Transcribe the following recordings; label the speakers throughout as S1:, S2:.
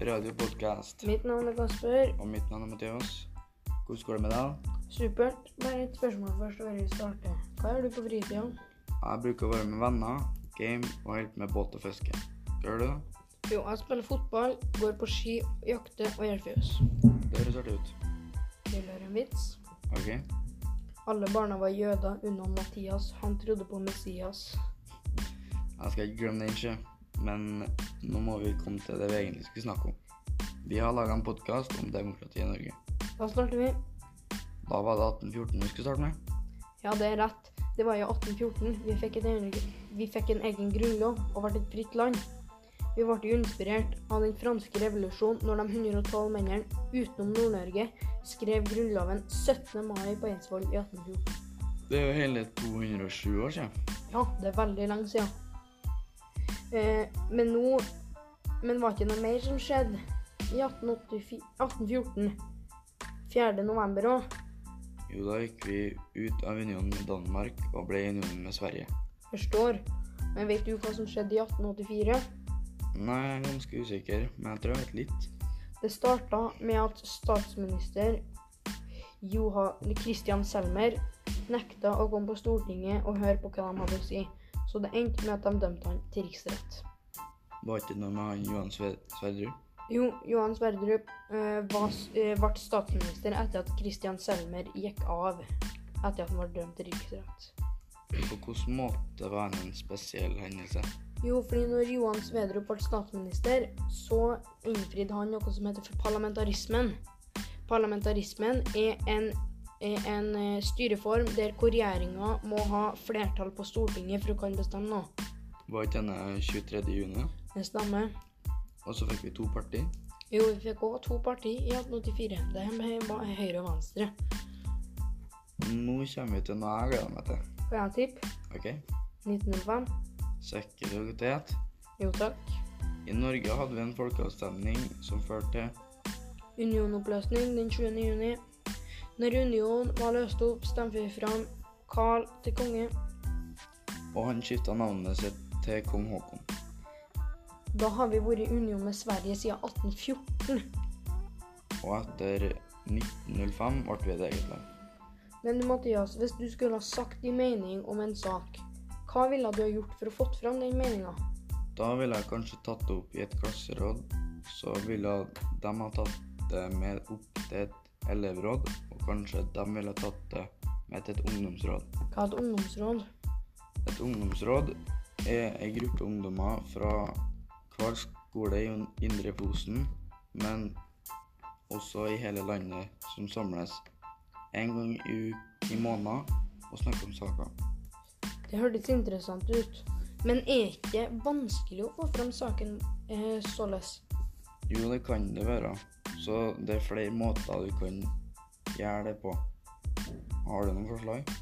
S1: radiopodkast.
S2: Mitt navn er Kasper.
S1: Og mitt navn er Mathias. Hvordan går det med deg?
S2: Supert. Bare et spørsmål først før vi starter. Hva gjør du på fritida?
S1: Jeg bruker å være med venner, game og hjelpe med båt og fiske. Hva Gjør du det?
S2: Jo, jeg spiller fotball, går på ski, jakter og gjør fjøs.
S1: Det høres artig ut.
S2: Vil du høre en vits?
S1: OK?
S2: Alle barna var jøder unntatt Mathias. Han trodde på Messias.
S1: Jeg skal ikke glemme den, ikke. Men nå må vi komme til det vi egentlig skulle snakke om. Vi har laga en podkast om demokrati i Norge.
S2: Da starter vi.
S1: Da var det 1814 vi skulle starte med.
S2: Ja, det er rett. Det var i 1814. Vi fikk, et egen, vi fikk en egen grunnlov og ble et fritt land. Vi ble jo inspirert av den franske revolusjonen når de 112 mennene utenom Nord-Norge skrev grunnloven 17. mai på Eidsvoll i 1814.
S1: Det er jo hele 207 år siden.
S2: Ja, det er veldig lenge siden. Eh, men nå Men var ikke noe mer som skjedde i 1884 1814? 4. november òg.
S1: Jo, da gikk vi ut av unionen med Danmark og ble i unionen med Sverige.
S2: Forstår. Men vet du hva som skjedde i 1884?
S1: Nei, jeg er ganske usikker, men jeg tror jeg vet litt.
S2: Det starta med at statsminister Johan Christian Selmer nekta å komme på Stortinget og høre på hva de hadde å si. Så det endte med at de dømte han til riksrett.
S1: Var ikke det noe med han Johan Sve- Sverdrup?
S2: Jo, Johan Sverdrup eh, var, eh, ble statsminister etter at Christian Selmer gikk av etter at han var dømt til riksrett.
S1: På hvilken måte var han en spesiell hendelse?
S2: Jo, fordi når Johan Sverdrup ble statsminister, så innfridde han noe som heter for parlamentarismen. Parlamentarismen er en, er en eh, styreform der hvor regjeringa må ha flertall på Stortinget for å kunne bestemme noe.
S1: Var ikke denne 23. juni?
S2: Det stemmer.
S1: Og så fikk vi to partier.
S2: Jo, vi fikk òg to partier i 1884. Det var Høyre og Venstre.
S1: Nå kommer vi til noe jeg gleder meg til.
S2: Får jeg en tipp?
S1: Ok?
S2: 1905.
S1: Sekkerhet.
S2: Jo takk.
S1: I Norge hadde vi en folkeavstemning som førte til
S2: Unionoppløsning den 20. juni. Når unionen var løst opp, stemte vi fram Karl til konge.
S1: Og han skifta navnet sitt til kong Haakon.
S2: Da har vi vært i union med Sverige siden 1814.
S1: Og etter 1905 ble vi et eget land.
S2: Men du, Mathias, hvis du skulle ha sagt din mening om en sak, hva ville du ha gjort for å fått fram den meninga?
S1: Da ville jeg kanskje tatt det opp i et klasseråd. Så ville de ha tatt det med opp til et elevråd, og kanskje de ville ha tatt det med til et ungdomsråd.
S2: Hva er et ungdomsråd?
S1: Et ungdomsråd er ei gruppe ungdommer fra hver skole i Indre Fosen, men også i hele landet, som samles en gang i, u- i måneden og snakker om saker.
S2: Det hørtes interessant ut. Men er ikke vanskelig å få fram saken eh, således?
S1: Jo, det kan det være. Så det er flere måter du kan gjøre det på. Har du noen forslag?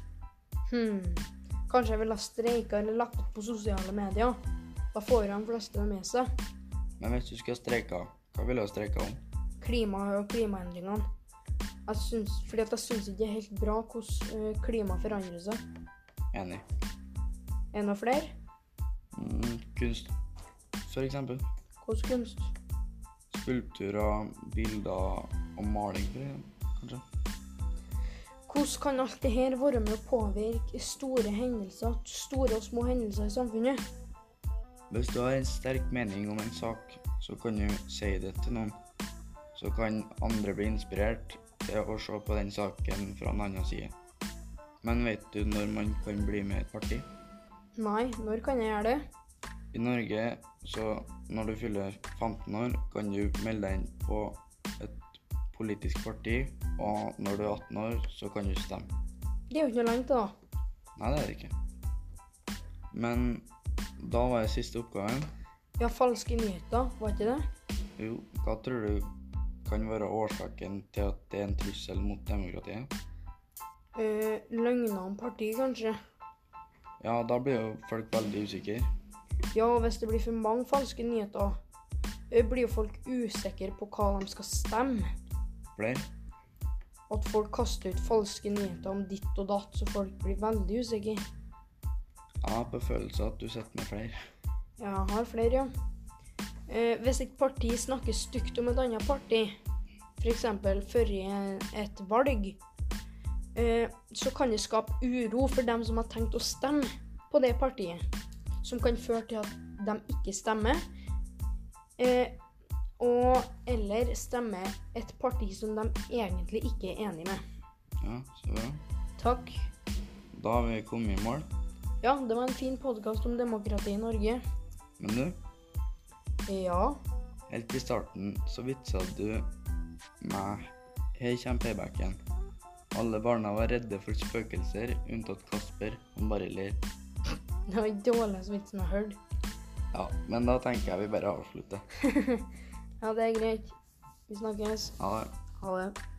S2: Hmm. Kanskje jeg ville ha streika eller lagt opp på sosiale medier? Da får jo de fleste det med seg.
S1: Men hvis du skulle streika, hva ville du streika om?
S2: klimaet og klimaendringene. Jeg syns, fordi at jeg syns ikke det er helt bra hvordan eh, klimaet forandrer seg.
S1: Enig.
S2: Er det noe flere?
S1: Mm, kunst, for eksempel.
S2: Hvordan kunst?
S1: Skulpturer, bilder og maling, for eksempel, kanskje.
S2: Hvordan kan alt det her være med å påvirke store hendelser, store og små hendelser i samfunnet?
S1: Hvis du har en sterk mening om en sak, så kan du si det til noen. Så kan andre bli inspirert til å se på den saken fra en annen side. Men vet du når man kan bli med i et parti?
S2: Nei, når kan jeg gjøre det?
S1: I Norge, så når du fyller 15 år, kan du melde deg inn på et politisk parti, og når du er 18 år, så kan du stemme.
S2: Det er jo ikke noe lenge til, da.
S1: Nei, det er det ikke. Men da var det siste oppgaven.
S2: Ja, falske nyheter, var ikke det?
S1: Jo, hva tror du kan være årsaken til at det er en trussel mot demokratiet?
S2: Eh, løgner om partiet, kanskje?
S1: Ja, da blir jo folk veldig usikre.
S2: Ja, og hvis det blir for mange falske nyheter, eh, blir jo folk usikre på hva de skal stemme.
S1: Flere?
S2: at folk kaster ut falske nyheter om ditt og datt, så folk blir veldig usikre.
S1: Jeg har på følelse at du sitter med flere.
S2: Jeg har flere, ja. Eh, hvis et parti snakker stygt om et annet parti, f.eks. før et valg, eh, så kan det skape uro for dem som har tenkt å stemme på det partiet. Som kan føre til at de ikke stemmer. Eh, og eller stemmer et parti som de egentlig ikke er enig med.
S1: Ja, så bra.
S2: Takk.
S1: Da har vi kommet i mål.
S2: Ja, det var en fin podkast om demokrati i Norge.
S1: Men du,
S2: Ja.
S1: helt i starten så vitsa du meg. Her kommer paybacken. Alle barna var redde for spøkelser, unntatt Kasper. Han bare ler.
S2: Det var den dårligste vitsen jeg har hørt.
S1: Ja, men da tenker jeg vi bare avslutter.
S2: Ja, det er greit. Vi snakkes.
S1: Ha det.
S2: Ha det.